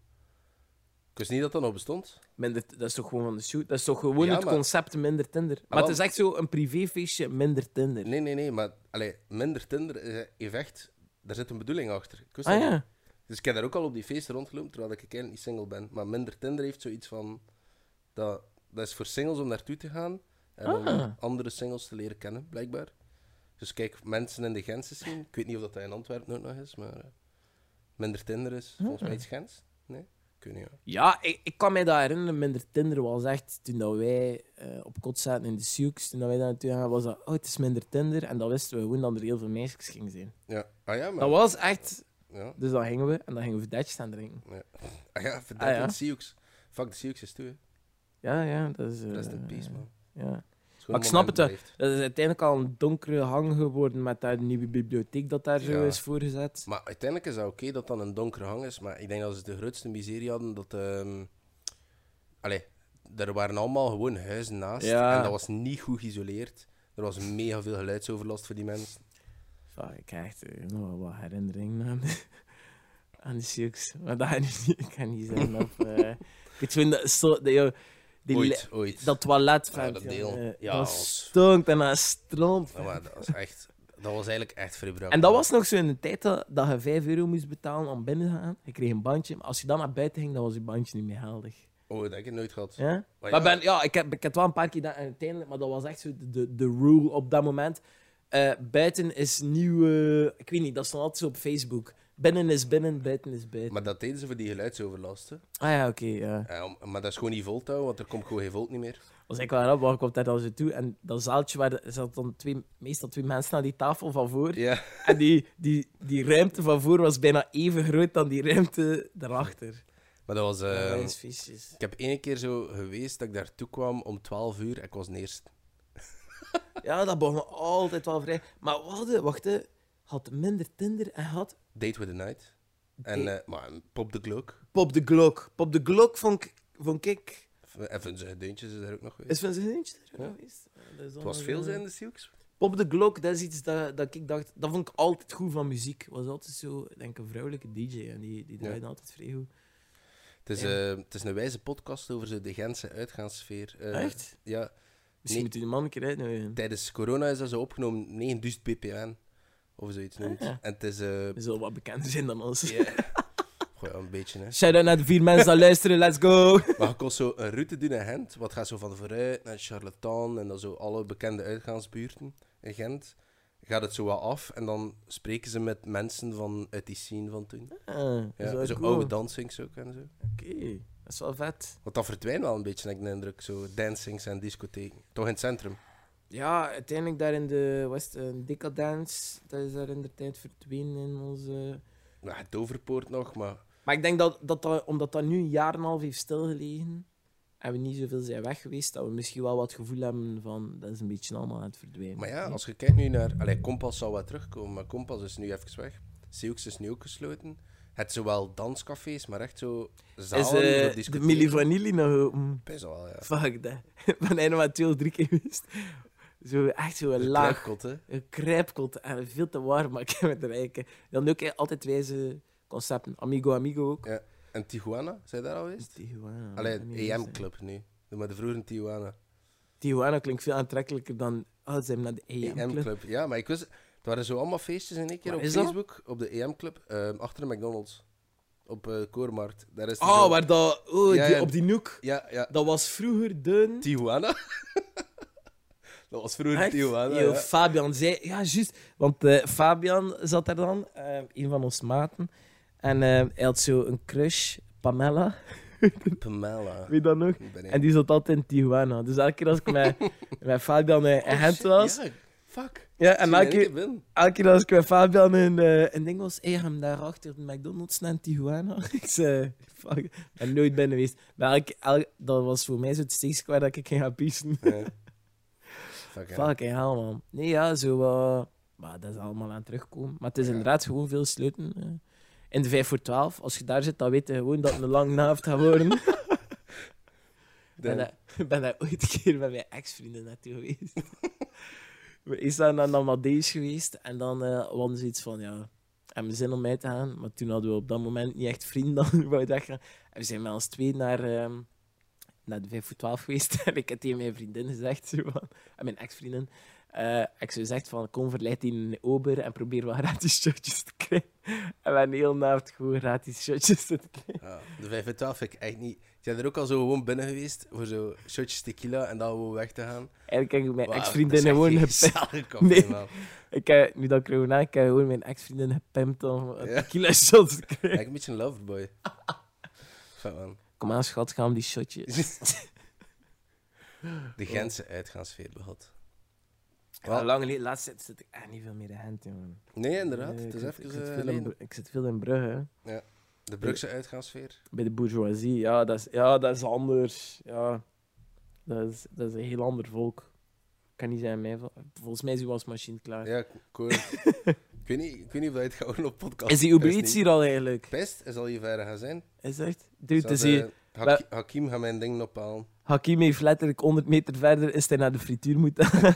S2: Ik wist niet dat dat nog bestond.
S1: Minder, dat is toch gewoon van de shoot? Dat is toch gewoon
S2: Ja,
S1: het
S2: maar- Ah,
S1: concept minder Tinder? Maar,
S2: wel-
S1: het is echt zo een privéfeestje minder Tinder.
S2: Nee, nee, nee, maar allee, minder Tinder is heeft echt, daar zit een bedoeling achter. Ik wist
S1: ah
S2: dat niet.
S1: ja.
S2: Dus ik heb daar ook al op die feesten rondgelopen, terwijl ik eigenlijk niet single ben. Maar minder Tinder heeft zoiets van, dat, dat is voor singles om naartoe te gaan en
S1: Ah.
S2: om andere singles te leren kennen, blijkbaar. Dus kijk, mensen in de Gentse zien. Ik weet niet of dat in Antwerpen ook nog is, maar eh, minder Tinder is volgens
S1: Ah.
S2: mij iets Gens. Nee, ik weet niet. ja.
S1: Ja, ik, ik kan mij dat herinneren. Minder Tinder was echt toen dat wij eh, op kot zaten in de Sioux. Toen dat wij daar naartoe gaan, was dat. Oh, het is minder Tinder. En dan wisten we gewoon dat er heel veel meisjes gingen zijn.
S2: Ja, ah ja, maar...
S1: Dat was echt.
S2: Ja,
S1: Dus dan gingen we en dan gingen we datjes staan drinken.
S2: ah ja, verdacht
S1: Ah ja.
S2: de Sioux. Fuck, de Sioux is toe, hè.
S1: Ja, ja, dat is. eh,
S2: Rest in peace, man.
S1: Ja. Maar ik snap het wel. Dat is uiteindelijk al een donkere hang geworden met daar de nieuwe bibliotheek dat daar zo
S2: Ja.
S1: is voorgezet.
S2: Maar uiteindelijk is dat oké dat dan een donkere hang is. Maar ik denk dat ze de grootste miserie hadden dat. ehm Allee, er waren allemaal gewoon huizen naast.
S1: Ja.
S2: En dat was niet goed geïsoleerd. Er was mega veel geluidsoverlast voor die mensen.
S1: Fuck, ik krijg er nog wel wat herinneringen aan. aan de Sioux. Maar dat ga je nu niet, ik kan niet zijn. Of, eh, ik vind dat zo... Dat, joh, die
S2: Ooit, ooit.
S1: le- dat toilet
S2: Ja,
S1: van
S2: dat deel. Ja,
S1: dat
S2: als-
S1: stonk en dat stroomt.
S2: Ja, maar dat was echt. Dat was eigenlijk echt vrijbrak.
S1: En dat was nog zo in de tijd dat, dat je 5 euro moest betalen om binnen te gaan. Je kreeg een bandje. Maar als je dan naar buiten ging, dan was je bandje niet meer geldig.
S2: Oh, dat heb ik nooit gehad.
S1: Ja? Maar
S2: Maar ja,
S1: ben, ja, ik, heb, ik heb wel een paar keer dat en uiteindelijk, maar dat was echt zo de, de, de rule op dat moment. Eh, buiten is nieuw, eh, ik weet niet, dat stond altijd zo op Facebook. Binnen is binnen, buiten is buiten.
S2: Maar dat deden ze voor die geluidsoverlast. hè.
S1: Ah ja, oké. ja.
S2: Ja, om- maar dat is gewoon niet vol te houden, want er komt gewoon geen volt niet meer.
S1: Als ik wel rap, waar komt daar dan zo toe? En dat zaaltje waar zat dan twee, meestal twee mensen aan die tafel van voor.
S2: Ja.
S1: En die, die, die ruimte van voor was bijna even groot dan die ruimte daarachter.
S2: Maar dat was.
S1: Ja,
S2: ehm,
S1: dat is viesjes.
S2: ik heb één keer zo geweest dat ik daartoe kwam om 12 uur. Ik was de eerste.
S1: Ja, dat begon altijd wel vrij. Maar wacht, hè, wacht. hè. Had minder Tinder en had
S2: Date with the Night. En, eh, maar een Pop the Glock.
S1: Pop de Glock. Pop de Glock vond ik. Vond ik
S2: Even zijn deuntjes is daar ook nog geweest.
S1: is van zijn eentje er
S2: Ja.
S1: geweest. Ja, dat is
S2: Het
S1: dan
S2: was
S1: nog,
S2: veel
S1: eh,
S2: zijn de Silks.
S1: Pop de Glock, dat is iets dat, dat ik dacht. Dat vond ik altijd goed van muziek. Was altijd zo, denk ik, een vrouwelijke DJ. En die, die draaide altijd vrij goed.
S2: Het is,
S1: Ja.
S2: eh, het is een wijze podcast over zo de Gentse uitgaanssfeer. Eh,
S1: Echt?
S2: Ja,
S1: Misschien
S2: Nee.
S1: moet u de man een keer uitnodigen.
S2: tijdens corona is dat zo opgenomen 9000 ppm of zoiets noemt.
S1: Ah, ja.
S2: En het is eh,
S1: We zullen wat bekender zijn dan ons.
S2: ja. Goh, ja, een beetje, hè.
S1: Shout out naar de vier mensen die luisteren, let's go!
S2: Maar je kon zo een route doen in Gent. Wat gaat zo van vooruit naar Charlatan en dan zo alle bekende uitgaansbuurten in Gent. Gaat het zo wat af en dan spreken ze met mensen van, uit die scene van toen.
S1: Ah, dat is
S2: Ja,
S1: wel
S2: zo
S1: cool.
S2: oude
S1: Oké,
S2: dansings ook en zo.
S1: dat is wel vet.
S2: Want dat verdwijnt wel een beetje, heb ik de indruk. Zo dancings en discotheken. Toch in het centrum.
S1: Ja, uiteindelijk daar in de West een Decadence, dat is daar in de tijd verdwenen in onze
S2: Nou, het Overpoort nog, maar...
S1: Maar ik denk dat, dat, dat omdat dat nu een jaar en een half heeft stilgelegen en we niet zoveel zijn weg geweest, dat we misschien wel wat gevoel hebben van dat is een beetje allemaal aan het verdwijnen. Hm?
S2: Maar ja, als je kijkt nu naar... Allee, Kompas zal wel terugkomen, maar Kompas is nu even weg. Sioux is nu ook gesloten. Het zowel danscafés, maar echt zo
S1: is
S2: zalen
S1: eh,
S2: voor
S1: de
S2: discotheken.
S1: Milli Vanilli nog open?
S2: Best wel, ja.
S1: Fuck dat. Ik ben er maar twee of drie keer geweest. Zo, echt zo
S2: De
S1: laag.
S2: kruipkot, hè.
S1: Een kruipkot en veel te warm, maar ik heb het er eigenlijk. Dan ook eh, altijd wijze concepten. Amigo, amigo ook. Dus
S2: En Tijuana, zijn daar al geweest?
S1: Tijuana.
S2: Allee,
S1: Amigo,
S2: EM-club nu. Doe Maar de vroeger in Tijuana.
S1: Tijuana klinkt veel aantrekkelijker dan. Oh, ze hebben naar de EM-club.
S2: EM-club. E Ja, maar ik wist... Er waren zo allemaal feestjes in één keer
S1: Waar
S2: op
S1: is dat?
S2: Facebook, op de EM-club, ehm, achter de McDonald's. Op eh Koormarkt. Daar is
S1: Oh,
S2: zo-
S1: waar dat. Oh,
S2: Ja,
S1: die,
S2: ja.
S1: op die noek.
S2: Ja, ja.
S1: Dat was vroeger de.
S2: Tijuana. dat was vroeger
S1: Echt?
S2: Tijuana,
S1: Yo,
S2: ja.
S1: Fabian zei... Ja, juist. Want eh, Fabian zat daar dan, eh, een van ons maten. En eh, hij had zo een crush, Pamela,
S2: Pamela.
S1: weet je dat nog?
S2: Ik ben
S1: En die zat altijd in Tijuana. Dus elke keer als ik met, met Fabian eh, in
S2: Oh,
S1: Gent
S2: shit,
S1: was...
S2: Ja, fuck.
S1: Ja, en elke,
S2: ik
S1: keer- elke keer als ik met Fabian in, eh in ding was... Hé, hey, hem daar achter de McDonald's naar Tijuana. ik zei... Fuck, ik ben nooit binnen geweest. Maar elke, elke- dat was voor mij zo het steekst waar dat ik ging gaan piezen.
S2: Fuck, ja.
S1: Fucking hell, man. Nee, ja, zo... eh, maar dat is allemaal aan terugkomen. Maar het is
S2: Ja.
S1: inderdaad gewoon veel sluiten. eh. In de 5 voor 12, als je daar zit, dan weet je gewoon dat het een lange avond gaat worden. Ik ben,
S2: Dan-
S1: daar- ik ben daar ooit een keer met mijn ex-vrienden naartoe geweest. We is dan naar de Amadeus geweest en dan eh hadden ze iets van, ja, hebben we zin om mee te gaan? Maar toen hadden we op dat moment niet echt vrienden, dan wou we weggaan. En we zijn met ons twee naar, ehm, naar de 5 voor 12 geweest. En ik had tegen mijn vriendin gezegd, zo van, en mijn ex-vriendin, eh, ik zo gezegd van, kom verleid die in een ober en probeer wat gratis shotjes te krijgen. En we hebben heel naavond gewoon gratis shotjes te krijgen.
S2: Ja, de 5 en 12 vind ik echt niet... Die zijn er ook al zo gewoon binnen geweest voor zo shotjes tequila en dan gewoon weg te gaan.
S1: Eigenlijk heb ik mijn
S2: Wauw,
S1: ex-vriendin
S2: dat is echt
S1: gewoon
S2: geen
S1: gepimpt.
S2: gezellige koppel,
S1: Nee.
S2: man.
S1: Ik heb, nu dat ik corona, ik heb gewoon mijn ex-vriendin gepimpt om eh,
S2: Ja.
S1: tequila shots te krijgen.
S2: Lijkt een beetje een loverboy. Fuck, man.
S1: Kom aan, schat, ga om die shotjes.
S2: De
S1: Oh.
S2: Gentse uitgaansfeer behad.
S1: Ja, lang geleden, laatst zit, zit ik echt niet veel meer in Gent, jongen.
S2: Ah. Nee, inderdaad.
S1: Eh,
S2: het is
S1: ik, zit-
S2: even...
S1: ik, zit
S2: eh,
S1: veel in,
S2: alleen
S1: Bru- ik zit veel in Brugge, hè.
S2: de Brugse uitgaansfeer.
S1: bij de bourgeoisie. Ja, dat is, ja, dat is anders. Ja. Dat, is, dat is een heel ander volk. kan niet zijn mij. Volgens mij is uw wasmachine klaar.
S2: Ja, cool. ik, weet niet, ik weet niet of je het gaat doen op podcast.
S1: Is die Uber
S2: Juist
S1: Eats
S2: niet.
S1: hier al eigenlijk?
S2: Best is al je verder gaan zijn.
S1: Is echt? Dude,
S2: Zou
S1: dus
S2: de-
S1: hier,
S2: Haki- Hakim gaat mijn ding ophalen.
S1: Hakim heeft letterlijk 100 meter verder is hij naar de frituur moeten gaan.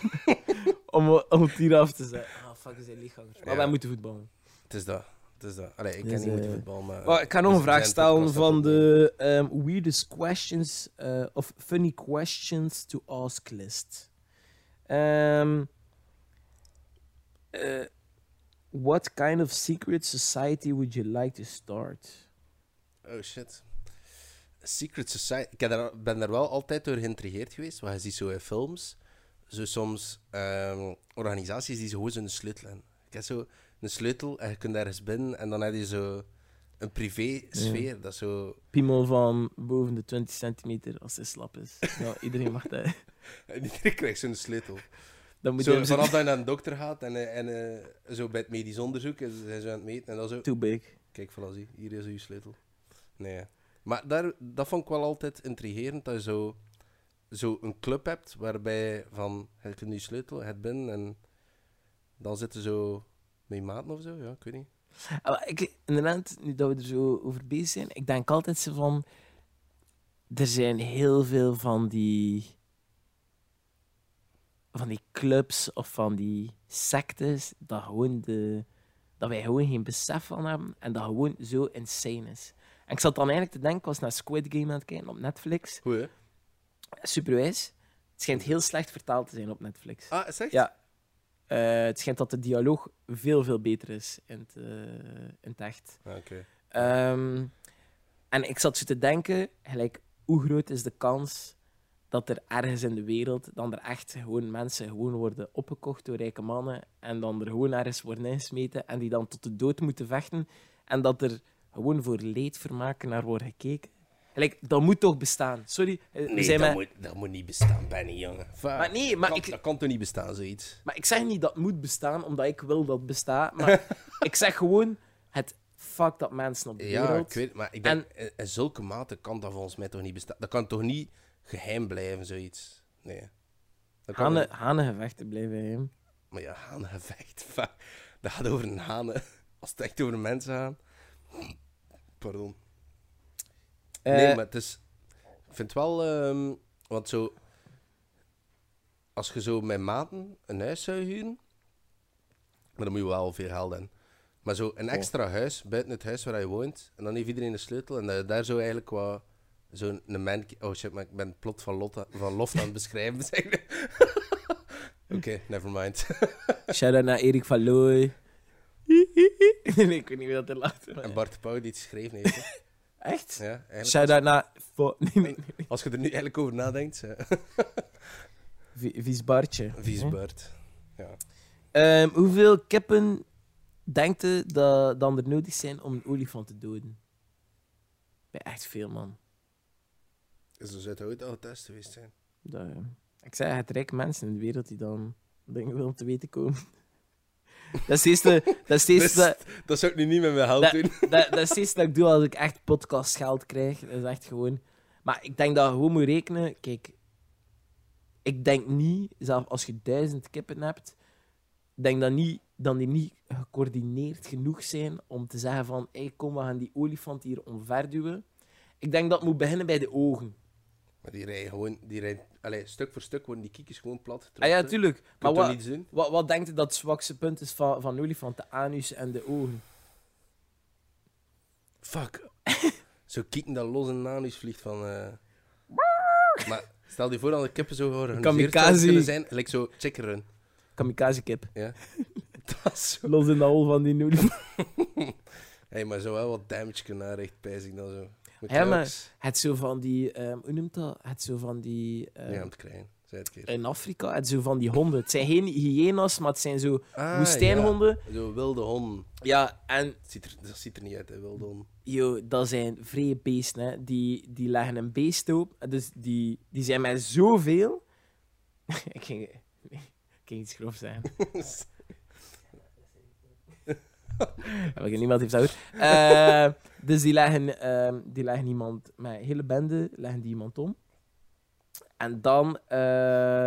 S1: om, om het hier af te zetten. Ah, fuck, is hij lichaamers. Maar
S2: Ja.
S1: wij moeten voetballen.
S2: Het is dat. Het is dat. Allee, ik
S1: Dus,
S2: ken niet
S1: eh,
S2: goed voetbal, maar...
S1: Maar ik ga nog
S2: dus
S1: een vraag
S2: zijn podcast
S1: stellen van
S2: dat
S1: de ehm, weirdest questions eh, of funny questions to ask list. Ehm, eh, what kind of secret society would you like to start?
S2: Oh shit. Secret Society. Ik heb daar- ben daar wel altijd door geïntrigeerd geweest. Want je ziet zo in films, zo soms ehm, organisaties die zo gewoon zo'n sleutel hebben. Ik heb zo een sleutel en je kunt ergens binnen en dan heb je zo een privé sfeer. Dat is zo.
S1: Piemel van boven de 20 centimeter als hij slap is. Nou, iedereen mag dat.
S2: En iedereen krijgt zo'n sleutel.
S1: Dan moet je
S2: Zo,
S1: hem zo
S2: vanaf dat je naar een dokter gaat en, eh, en eh, zo bij het medisch onderzoek en ze zijn zo aan het meten en dan zo.
S1: too big.
S2: Kijk, voilà, zie, hier is uw sleutel. Nee. Maar daar, dat vond ik wel altijd intrigerend, dat je zo, zo een club hebt waarbij van, je kunt die sleutel, het binnen en dan zitten zo met je maten of zo, ja, ik weet niet.
S1: Ah, maar ik, inderdaad, nu dat we er zo over bezig zijn, ik denk altijd zo van... Er zijn heel veel van die... Van die clubs of van die sectes, dat, gewoon de, dat wij gewoon geen besef van hebben en dat gewoon zo insane is. En ik zat dan eigenlijk te denken, ik was naar Squid Game aan het kijken op Netflix.
S2: Goed, hè?
S1: Superwijs. Het schijnt heel slecht vertaald te zijn op Netflix.
S2: Ah, is echt?
S1: Ja. Eh, het schijnt dat de dialoog veel, veel beter is in het, eh, in het echt.
S2: Ah, Oké.
S1: Ehm, en ik zat zo te denken, gelijk, hoe groot is de kans dat er ergens in de wereld dan er echt gewoon mensen gewoon worden opgekocht door rijke mannen en dan er gewoon ergens worden ingesmeten en die dan tot de dood moeten vechten en dat er gewoon voor leedvermaken naar wordt gekeken. Gelijk, dat moet toch bestaan. Sorry, eh, we
S2: Nee,
S1: zijn
S2: dat,
S1: met-
S2: moet, dat moet niet bestaan, Benny, jongen. Va-
S1: Maar nee, maar
S2: kan-
S1: ik-
S2: Dat kan toch niet bestaan, zoiets?
S1: Maar ik zeg niet dat het moet bestaan, omdat ik wil dat het bestaat. Maar ik zeg gewoon, het fuck dat mensen op de
S2: Ja,
S1: wereld.
S2: ik weet maar ik denk, in, in zulke mate kan dat volgens mij toch niet bestaan. Dat kan toch niet geheim blijven, zoiets? Nee. Dat kan
S1: Hanen,
S2: niet.
S1: hanengevechten blijven geheim.
S2: Maar ja, hanengevecht. va- Dat gaat over een hanen. Als het echt over mensen gaat. Pardon.
S1: Eh,
S2: nee, maar het is... Ik vind wel... ehm, want zo... Als je zo met maten een huis zou huren... Maar dan moet je wel veel geld in. Maar zo een extra huis, buiten het huis waar je woont. En dan heeft iedereen een sleutel. En dat je daar zo eigenlijk wat... Zo'n een man... Oh shit, maar ik ben het plot van, Lotte, van Loft aan het beschrijven. zeg. Oké, never mind.
S1: Shout-out naar Erik van Looy. nee, ik weet niet wie dat er lacht. maar-
S2: En Bart de Pauw die het geschreven heeft. hè.
S1: Echt?
S2: ja, eigenlijk.
S1: Shout-out naar... Fo- Nee, nee, nee.
S2: Als je er nu eigenlijk over nadenkt, hè.
S1: V- Vies Bartje.
S2: vies Bart. Ja.
S1: Ehm, hoeveel kippen denkt je dat dan er nodig zijn om een olifant te doden? Bij echt veel, man.
S2: Dus er zou ooit al getest geweest zijn.
S1: Dat, eh, ik zeg, het rijke mensen in de wereld die dan dingen willen te weten komen. Dat is het eerste, dat is het
S2: Dus,
S1: eerste,
S2: dat zou ik nu niet met mijn hand
S1: Dat-
S2: doen.
S1: dat, dat, is het eerste dat ik doe als ik echt podcastgeld krijg. Dat is echt gewoon... Maar ik denk dat je gewoon moet rekenen... Kijk, ik denk niet, zelfs als je duizend kippen hebt, ik denk dat, niet, dat die niet gecoördineerd genoeg zijn om te zeggen van hey, kom, we gaan die olifant hier omverduwen. Ik denk dat het moet beginnen bij de ogen.
S2: Maar die rijden gewoon, die rijden, allee, stuk voor stuk worden die kiekjes gewoon plat getrapt.
S1: Ah ja,
S2: hè.
S1: tuurlijk.
S2: Je
S1: Maar
S2: kunt toch
S1: wat,
S2: niets doen?
S1: Wat, wat denkt u dat het zwakste punt is van, van olifanten? De anus en de ogen.
S2: Fuck. zo kieken dat los een nanus vliegt van... eh. Maar stel je voor dat de kippen zo georganiseerd zouden
S1: Kamikaze.
S2: kunnen zijn. Like zo chickeren.
S1: Kamikaze kip.
S2: Ja. dat is zo...
S1: Los in de hol van die olifant.
S2: Hé, maar zo wel wat damage kunnen aanrichten, pijs ik dan zo. Met
S1: Ja, maar-
S2: kruiks.
S1: Het zo van die... ehm, hoe noemt dat? Het zo van die... ehm,
S2: Ja, om te krijgen. Zei het keer.
S1: in Afrika, het zo van die honden. Het zijn geen hyena's, maar het zijn zo
S2: Ah,
S1: woestijnhonden.
S2: ja. Zo wilde honden.
S1: Ja, en
S2: Het ziet er, dat ziet er niet uit, hè, wilde honden.
S1: Yo, dat zijn vrije beesten. Hè. Die, die leggen een beest op. Dus die, die zijn met zoveel. ik, ging, nee, ik ging iets grof zijn. niemand heeft dat gehoord. Eh, dus die leggen, ehm, die leggen iemand met een hele bende leggen die iemand om. En dan eh,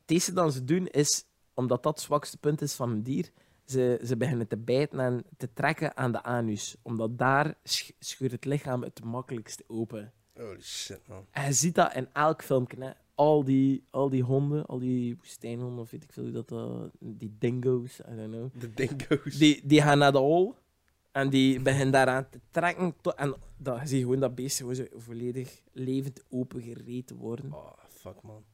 S1: het eerste dat ze doen is, omdat dat het zwakste punt is van een dier, ze, ze beginnen te bijten en te trekken aan de anus. Omdat daar sch- scheurt het lichaam het makkelijkst open.
S2: Holy shit, man.
S1: En je ziet dat in elk filmpje. Hè. Al, die, al die honden, al die woestijnhonden, of weet ik veel hoe dat, eh, die dingo's, I don't know.
S2: De dingo's.
S1: Die, die gaan naar de hol en die beginnen daaraan te trekken. tot- en dan zie je gewoon dat beest gewoon zo volledig levend open gereten worden.
S2: Oh, fuck, man.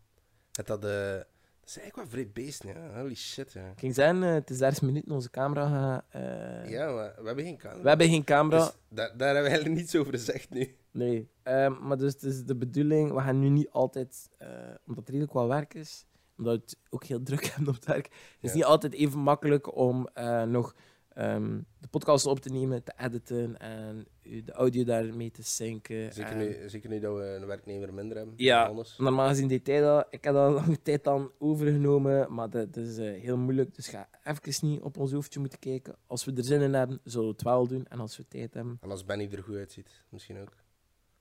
S2: Het had, eh dat is eigenlijk wel vrij beest, ja. Holy shit, ja.
S1: Ik ging zeggen, eh, het is 30 minuten, onze camera gaat... eh,
S2: Ja, maar we hebben geen camera.
S1: We hebben geen camera.
S2: Dus daar, daar hebben we eigenlijk niets over gezegd nu.
S1: Nee. Ehm, maar dus het is de bedoeling, we gaan nu niet altijd, eh, omdat er redelijk wat werk is, omdat we het ook heel druk hebben op het werk, het is
S2: Ja.
S1: niet altijd even makkelijk om eh, nog ehm, de podcast op te nemen, te editen en u- de audio daarmee te synken.
S2: Zeker
S1: en-
S2: nu, zeker nu dat we een werknemer minder hebben.
S1: Ja.
S2: dan Anders.
S1: Normaal gezien deed hij dat. Ik heb dat lange tijd dan overgenomen, maar dat, dat is eh, heel moeilijk. Dus ga even niet op ons hoofdje moeten kijken. Als we er zin in hebben, zullen we het wel doen. En als we tijd hebben,
S2: En als Benny er goed uitziet, misschien ook.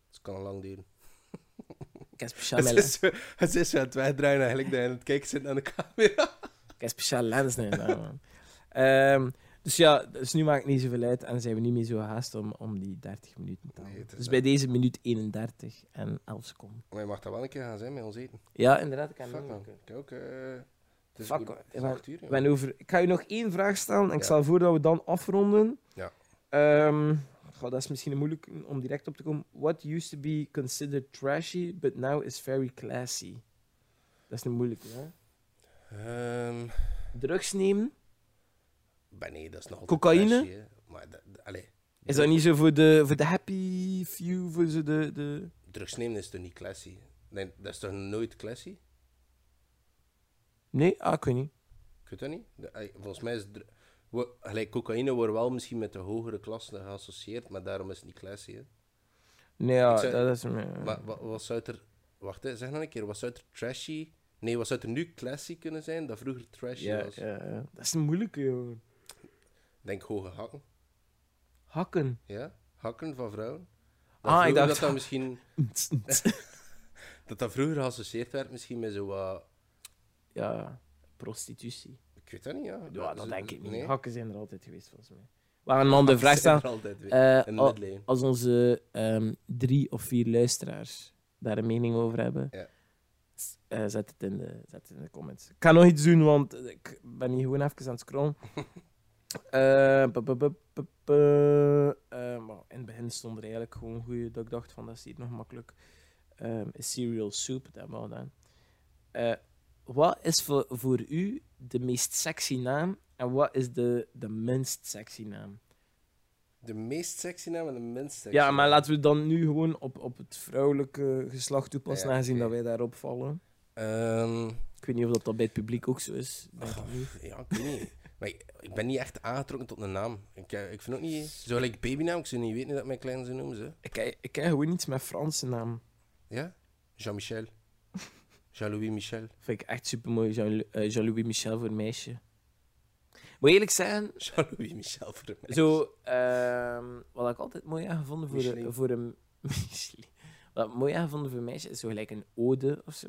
S2: Het kan al lang duren.
S1: ik heb speciaal
S2: Het
S1: mijn
S2: is, zo, het is zo aan het wegdraaien eigenlijk, dat je aan het kijken zit naar de camera.
S1: Ik heb speciale lens nu. nou, man. Ehm, dus ja, dus nu maakt het niet zoveel uit en zijn we niet meer zo haast om, om die 30 minuten te
S2: Nee,
S1: halen.
S2: het is
S1: dus
S2: dat.
S1: bij deze minuut 31 en 11 seconden.
S2: Maar je mag dat wel een keer gaan zijn met ons eten.
S1: Ja, inderdaad, ik heb
S2: Fuck
S1: niet
S2: man,
S1: meer.
S2: ik ook... eh, het is
S1: Fuck,
S2: goed-
S1: man.
S2: het is acht uur,
S1: Ik
S2: joh.
S1: ben over... Ik ga u nog één vraag stellen en ik
S2: Ja.
S1: stel voor dat we dan afronden.
S2: Ja.
S1: Ehm, goh, dat is misschien moeilijk om direct op te komen. What used to be considered trashy, but now is very classy. Dat is een moeilijke, hè?
S2: Ehm,
S1: Drugs nemen,
S2: ben nee, dat is nog altijd
S1: Cocaïne?
S2: trashy, hè. maar dat, dat- allee,
S1: is dat niet zo voor de, voor de happy few, voor zo de... de...
S2: drugs nemen is toch niet classy? Nee, dat is toch nooit classy?
S1: Nee, ah, ik weet niet.
S2: Ik weet dat niet. De- ey, volgens mij is dr- wo- gelijk, cocaïne wordt wel misschien met de hogere klassen geassocieerd, maar daarom is het niet classy. Hè?
S1: Mm. Nee, ja,
S2: Ik zou-
S1: dat is... eh,
S2: Maar wat, wat zou het er... Wacht, hè, zeg nog een keer. Wat zou het er trashy... Nee, wat zou het er nu classy kunnen zijn dat vroeger trashy
S1: ja,
S2: was?
S1: ja, ja. Dat is een moeilijke, jongen.
S2: Denk hoge hakken.
S1: Hakken.
S2: Ja? Hakken van vrouwen. Dat
S1: Ah, ik dacht-
S2: vroeger Dat dat, misschien,
S1: ja,
S2: dat dat vroeger geassocieerd werd misschien met zo wat...
S1: ja, prostitutie.
S2: Ik weet dat niet, ja.
S1: Ja, dat
S2: zo-
S1: denk ik niet.
S2: nee.
S1: Hakken zijn er altijd geweest, volgens mij. We gaan een andere vraag
S2: Zijn
S1: stellen.
S2: er altijd weer.
S1: Eh,
S2: In de
S1: al-
S2: middeleeuwen.
S1: als onze ehm, drie of vier luisteraars daar een mening over hebben,
S2: Ja.
S1: s- eh, zet, het in de, zet het in de comments. Ik ga nog iets doen, want eh, ik ben hier gewoon even aan het scrollen. Eh, bu- bu- bu- bu- bu- eh, maar in het begin stond er eigenlijk gewoon goede dat ik dacht van dat is hier nog makkelijk. Ehm, is cereal soup, dat hebben we al gedaan. Eh, wat is voor, voor u de meest sexy naam en wat is de, de minst sexy naam?
S2: De meest sexy naam en de minst sexy
S1: Ja, maar
S2: naam.
S1: laten we dan nu gewoon op, op het vrouwelijke geslacht toepassen,
S2: Ja,
S1: aangezien
S2: oké.
S1: dat wij daarop vallen.
S2: Ehm,
S1: Ik weet niet of dat, dat bij het publiek ook zo is. Denk ik
S2: Goh,
S1: niet.
S2: Ja, ik weet niet. Maar ik, ik ben niet echt aangetrokken tot een naam. Ik, eh, ik vind ook niet... Zo gelijk babynaam, ik zou niet weten hoe dat mijn kleine ze noemen. Ze.
S1: Ik, ken- ik ken gewoon iets met Franse naam.
S2: Ja? Jean-Michel. Jean-Louis Michel.
S1: Vind ik echt super mooi. Jean, eh, Jean-Louis Michel voor een meisje. Moet eerlijk zijn,
S2: Jean-Louis Michel voor mij.
S1: zo, ehm, wat ik altijd mooi aan gevonden voor,
S2: Michelin.
S1: een- voor een. Michelin. Wat ik mooi aan gevonden voor een meisje is zo gelijk een ode of zo.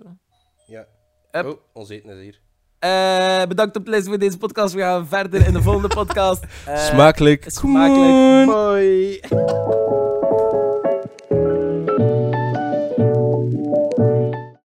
S2: Ja.
S1: Hup.
S2: Oh, ons eten is hier.
S1: Eh, bedankt op les voor deze podcast. We gaan verder in de volgende podcast. Eh,
S2: smakelijk.
S1: Smakelijk. Mooi.